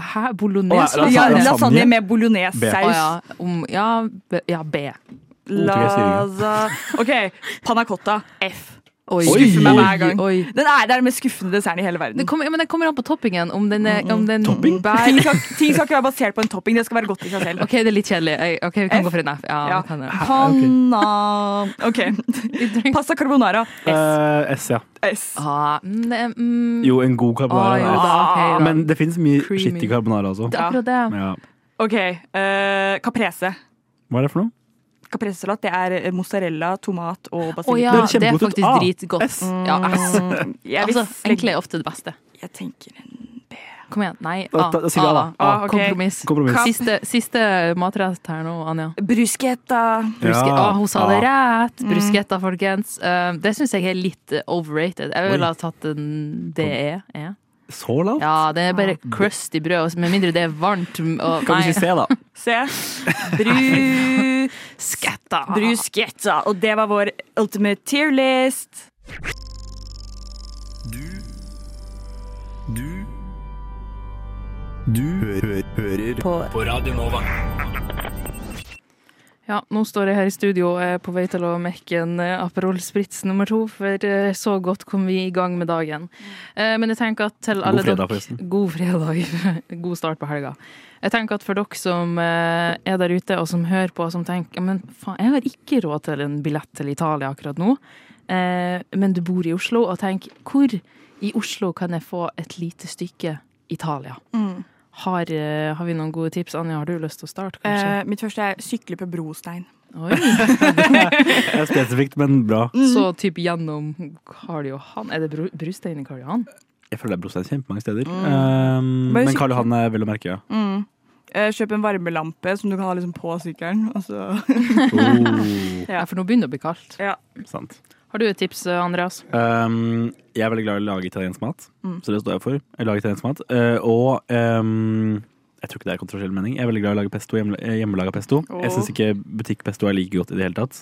Speaker 10: Hæ,
Speaker 4: Å,
Speaker 10: bolognese?
Speaker 4: ja,
Speaker 10: Hva
Speaker 4: lasagne.
Speaker 5: Ja,
Speaker 10: sa du?
Speaker 5: lasagne
Speaker 4: B.
Speaker 5: med
Speaker 10: Å
Speaker 5: bolognese-saus.
Speaker 10: ja, om, ja, B. Ja, B.
Speaker 4: jeg sier
Speaker 5: Lasa- Ok, panna cotta. F.
Speaker 10: Oi.
Speaker 5: Skuffer meg hver gang.
Speaker 10: Oi.
Speaker 5: Den er der mest skuffende desserten i hele verden.
Speaker 10: Det kommer, men det kommer an på toppingen. Om den, er, om den
Speaker 4: Topping?
Speaker 5: Ting
Speaker 10: bærer
Speaker 5: skal, ting skal ikke være basert på en topping, det skal være godt i seg selv.
Speaker 10: OK, det er litt kjedelig. Eh, Ok, Vi kan
Speaker 5: F?
Speaker 10: gå for en F. Ja,
Speaker 5: Ja.
Speaker 10: vi Kan det.
Speaker 5: Panna Ok. Pasta carbonara. S.
Speaker 4: Eh, S, ja.
Speaker 5: S.
Speaker 10: Ah, mm, det er- mm,
Speaker 4: Jo, en god
Speaker 10: ah,
Speaker 4: carbonara.
Speaker 10: jo
Speaker 4: er S.
Speaker 10: da, ok, da.
Speaker 4: Men det fins mye
Speaker 10: Creamy.
Speaker 4: skittig carbonara også.
Speaker 10: det er akkurat det.
Speaker 4: Ja.
Speaker 5: Ok. eh, caprese.
Speaker 4: Hva er det for noe?
Speaker 5: Capresesalat det er mozzarella, tomat og
Speaker 10: Å
Speaker 5: basilikum.
Speaker 10: ja,
Speaker 4: Det er
Speaker 10: det er
Speaker 4: kjempegodt.
Speaker 10: faktisk
Speaker 4: Ah,
Speaker 10: dritgodt. Mm.
Speaker 4: S.
Speaker 10: Ja, S.
Speaker 5: Jeg, vil
Speaker 10: Altså, egentlig
Speaker 5: slenge-
Speaker 10: er ofte det beste.
Speaker 5: jeg tenker en
Speaker 10: Kom igjen. Nei,
Speaker 4: Da-
Speaker 10: A.
Speaker 4: da- da sier vi A, da.
Speaker 10: Ah,
Speaker 5: A, ok.
Speaker 10: Kompromiss.
Speaker 4: Kompromiss.
Speaker 10: Siste, siste matrett her nå, Anja.
Speaker 5: bruschetta.
Speaker 10: Bruske,
Speaker 4: Ja.
Speaker 10: Å, hun sa det
Speaker 4: A.
Speaker 10: rett! Bruschetta, folkens. Eh, det syns jeg er litt eh, overrated. Jeg ville ha tatt en DE. Ja.
Speaker 4: Så lavt?
Speaker 10: ja, det er bare crusty brød, og med mindre det er varmt. Og,
Speaker 4: Kan vi ikke
Speaker 10: nei,
Speaker 4: se, da?
Speaker 5: Se. Bru...
Speaker 10: sketta!
Speaker 5: Bruschetta. Og det var vår ultimate tier list.
Speaker 11: Du Du Du hører på, Radio Nova.
Speaker 10: Ja, nå står jeg her i studio og er på vei til å mekke en eh, Aperol Spritz nummer to, for eh, så godt kom vi i gang med dagen. Eh, Men jeg tenker at til alle
Speaker 4: fredag,
Speaker 10: dere-
Speaker 4: forresten.
Speaker 10: God fredag. God start på helga. Jeg tenker at for dere som eh, er der ute og som hører på og som tenker men faen, jeg har ikke råd til en billett til Italia akkurat nå, eh, men du bor i Oslo og tenker hvor i Oslo kan jeg få et lite stykke Italia? Har, eh, har vi noen gode tips? Anja, har du lyst til å starte, kanskje?
Speaker 5: Eh, mitt første er sykle på brostein.
Speaker 10: Oi.
Speaker 4: Det er spesifikt, men bra.
Speaker 10: Så typ gjennom Karl Johan Er det bru- brustein i Karl Johan?
Speaker 4: Jeg føler det er brostein kjempemange steder.
Speaker 10: Mm.
Speaker 4: Um,
Speaker 5: Bare
Speaker 4: men
Speaker 5: sykt.
Speaker 4: Karl Johan er vel å merke, ja.
Speaker 5: Eh, kjøp en varmelampe som du kan ha liksom på sykkelen. Og så.
Speaker 4: Oh,
Speaker 10: Ja.
Speaker 5: Ja.
Speaker 10: For nå begynner det å bli kaldt.
Speaker 5: Ja.
Speaker 4: sant.
Speaker 10: Har du et tips, eh, Andreas?
Speaker 4: Um, jeg er veldig glad i å lage italiensk mat,
Speaker 10: Mm.
Speaker 4: så det står jeg for. Jeg lager italiensk mat. Uh, og um, jeg tror ikke det er kontroversiell mening. Jeg er veldig glad i å lage pesto, hjemme, eh, hjemmelaga pesto. Jeg syns ikke butikkpesto er like godt i det hele tatt.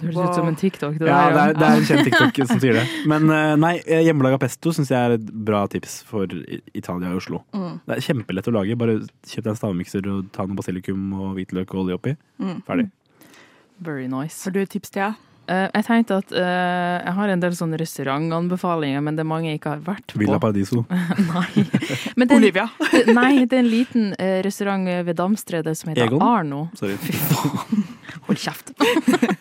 Speaker 10: Det høres
Speaker 5: Wow.
Speaker 10: ut som en TikTok. Det
Speaker 4: Ja,
Speaker 10: der,
Speaker 4: det
Speaker 10: ja.
Speaker 4: er, det er en kjent TikTok som sier det. Men eh, nei, eh, hjemmelaga pesto syns jeg er et bra tips for I- Italia og Oslo.
Speaker 5: Mm.
Speaker 4: Det er kjempelett å lage. Bare kjøp deg en stavmikser og ta noe basilikum og hvitløk og olje oppi. Ferdig.
Speaker 10: Very nice.
Speaker 5: Har Mm. du et tips, Thea?
Speaker 10: Eh, jeg tenkte at eh, jeg har en del sånne restaurantanbefalinger, men det er mange jeg ikke har vært på.
Speaker 4: Villa Paradiso.
Speaker 10: Nei. Men det, er-
Speaker 5: Olivia.
Speaker 10: det, eh, nei, det er en liten eh, restaurant ved Damstredet som heter
Speaker 4: Egon?
Speaker 10: Arno.
Speaker 4: Sorry.
Speaker 10: Hold kjeft.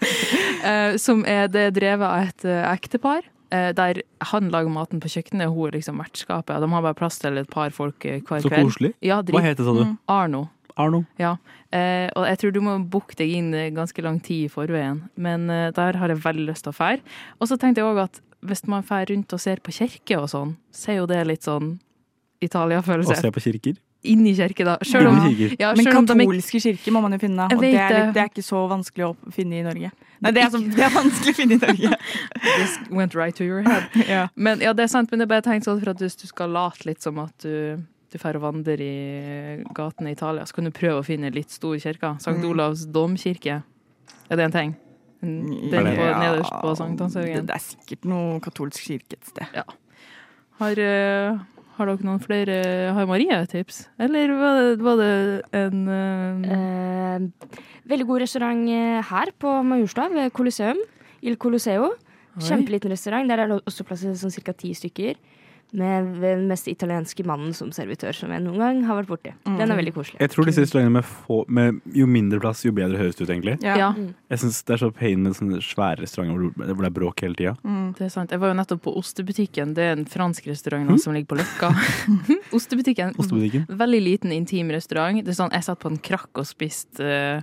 Speaker 10: Eh, som er det er drevet av et eh, ektepar. eh, Der han lager maten på kjøkkenet, og hun er liksom vertskapet. og De har bare plass til et par folk eh, hver
Speaker 4: Så
Speaker 10: kveld.
Speaker 4: koselig.
Speaker 10: Ja,
Speaker 4: Hva
Speaker 10: drit.
Speaker 4: heter det, sa du?
Speaker 10: Arno.
Speaker 4: Arno?
Speaker 10: Ja. Eh, og jeg tror du må booke deg inn eh, ganske lang tid i forveien. Men eh, der har jeg veldig lyst til å fære. Og så tenkte jeg òg at hvis man fær rundt og ser på kirke og sånn, så er jo det litt sånn
Speaker 4: Å
Speaker 10: Italia-følelse.
Speaker 4: se på kirker?
Speaker 10: Inn i kirke, da. Selv om,
Speaker 4: Inne i kirker.
Speaker 10: ja,
Speaker 5: Men
Speaker 10: selv om de ikke
Speaker 5: katolske kirker må man jo finne,
Speaker 10: Jeg
Speaker 5: og det
Speaker 10: vet
Speaker 5: er,
Speaker 10: det.
Speaker 5: litt, det er ikke så vanskelig å finne i Norge. Nei, det er, så, det er vanskelig å finne i Norge.
Speaker 10: This went right to your head.
Speaker 5: Ja.
Speaker 10: Men ja, det er sant, men det er bare tenkt sånn for at hvis du skal late litt som at du du drar og vandrer i gatene i Italia, så kan du prøve å finne litt stor kirke. Sankt
Speaker 4: Mm.
Speaker 10: Olavs domkirke. Er det en ting?
Speaker 4: Mm,
Speaker 10: Den på, nederst på
Speaker 5: det,
Speaker 10: Sankthanshaugen.
Speaker 5: det er sikkert noe katolsk kirke et sted.
Speaker 10: Har, eh, har dere noen flere eh, Har Maria et tips? Eller var det, var det en eh,
Speaker 6: Eh, veldig god restaurant eh, her på Majorstua, ved Colosseum. Il Colosseo. Kjempeliten restaurant. Der er det også plass til sånn ca. ti stykker. Med den mest italienske mannen som servitør som jeg noen gang har vært borti. Den er veldig koselig.
Speaker 4: Jeg tror disse restaurantene med, få, med jo mindre plass, jo bedre høres det ut, egentlig.
Speaker 5: Ja.
Speaker 10: Ja,
Speaker 4: Jeg synes Det er så pain med sånne svære restauranter hvor du- hvor det er bråk hele tida.
Speaker 5: Mm.
Speaker 10: det er sant. Jeg var jo nettopp på Ostebutikken. Det er en fransk restaurant nå som ligger på Løkka. Ostebutikken.
Speaker 4: Ostebutikken.
Speaker 10: Veldig liten, intim restaurant. Det er sånn, jeg satt på en krakk og spiste uh,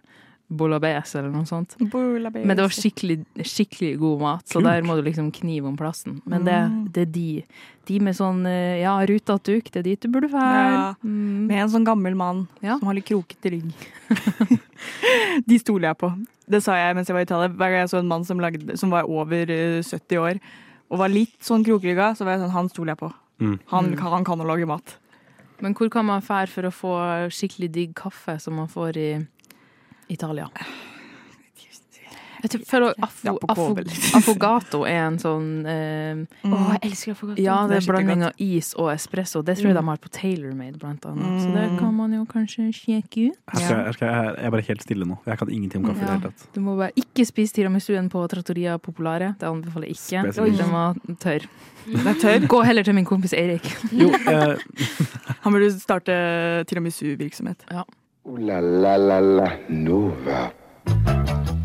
Speaker 10: bolognese eller noe sånt. Men det var skikkelig, skikkelig god mat, så der må du liksom knive om plassen. Men det, det er de. De med sånn eh, ja, rutete duk, det er dit du burde være. Mm.
Speaker 5: Ja. Med en sånn gammel mann
Speaker 10: Ja.
Speaker 5: som har litt krokete rygg. De stoler jeg på. Det sa jeg mens jeg var i Italia. Hver gang jeg så en mann som, lagde, som var over eh, 70 år og var litt sånn krokrygga, så var jeg sånn Han stoler jeg på.
Speaker 4: Mm.
Speaker 5: Han, kan- han kan å lage mat.
Speaker 10: Men hvor kan man fære for å få skikkelig digg kaffe, som man får i Italia? Jeg tror- føler
Speaker 5: Ja,
Speaker 10: afo,
Speaker 5: på
Speaker 10: afo,
Speaker 5: Kåbel.
Speaker 10: affogato er en sånn eh,
Speaker 6: Å, jeg elsker affogato.
Speaker 10: Ja, det
Speaker 5: Det
Speaker 10: er Mm.
Speaker 5: er
Speaker 10: blanding av is og espresso. Det tror jeg de har på Tailormade, blant annet. Så det kan man jo kanskje sjekke ut.
Speaker 4: Her skal, jeg- her skal, jeg, jeg er bare helt stille nå. Jeg kan ingenting om kaffe i det
Speaker 10: Ja.
Speaker 4: hele tatt.
Speaker 10: Du må bare ikke spise tiramisuen på Trattoria Populare. Det anbefaler jeg ikke.
Speaker 4: Spesielt.
Speaker 10: Den var tørr.
Speaker 5: Den er tørr.
Speaker 10: Gå heller til min kompis Eirik.
Speaker 4: Jo, eh,
Speaker 5: Han burde starte tiramisu-virksomhet.
Speaker 2: Ooh la la la la Nova.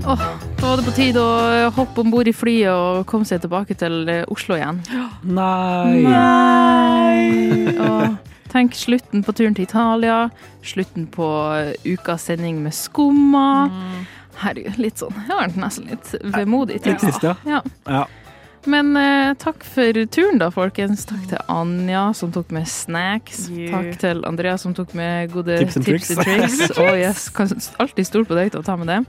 Speaker 10: Åh, da var det på tide å hoppe om bord i flyet og komme seg tilbake til eh, Oslo igjen.
Speaker 4: nei!
Speaker 10: Åh, tenk slutten på turen til Italia, slutten på ukas sending med skumma. Herregud, litt sånn Jeg har nesten litt vemodig. til
Speaker 4: Litt trist, Mm. ja.
Speaker 10: Ja.
Speaker 4: Ja.
Speaker 10: Men eh, takk for turen, da, folkens. Takk til Anja, som tok med snacks.
Speaker 5: Yeah.
Speaker 10: Takk til Andreas, som tok med gode
Speaker 4: Tips
Speaker 10: tips
Speaker 4: and
Speaker 10: and tricks. Og yes, kan alltid stole på deg til å ta med det.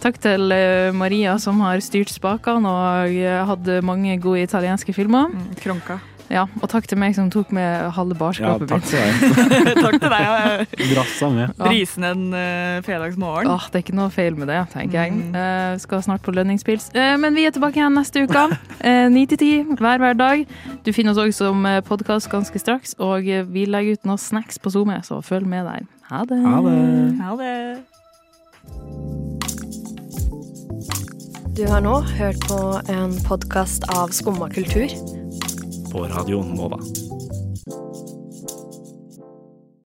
Speaker 10: Takk til eh, Maria, som har styrt spakene og eh, hadde mange gode italienske filmer.
Speaker 5: Mm, Kronka.
Speaker 10: Ja, Og takk til meg, som tok med halve
Speaker 4: ja,
Speaker 10: barskapet
Speaker 4: takk
Speaker 10: mitt.
Speaker 4: til deg.
Speaker 5: Takk til deg. og, eh,
Speaker 4: Drassa med.
Speaker 10: Ja.
Speaker 5: Brisen en eh, fredagsmorgen.
Speaker 10: Åh, det er ikke noe feil med det, tenker jeg.
Speaker 4: Mm.
Speaker 10: Eh, skal snart på lønningspils. Eh, men vi er tilbake igjen neste uke. Eh, Ni til ti hver hver dag. Du finner oss også som podkast ganske straks. Og eh, vi legger ut noen snacks på SoMe, så følg med der. Ha det.
Speaker 4: Ha det.
Speaker 5: Ha det.
Speaker 3: Du har nå hørt på en podkast av Skumma kultur.
Speaker 12: På radioen Nova.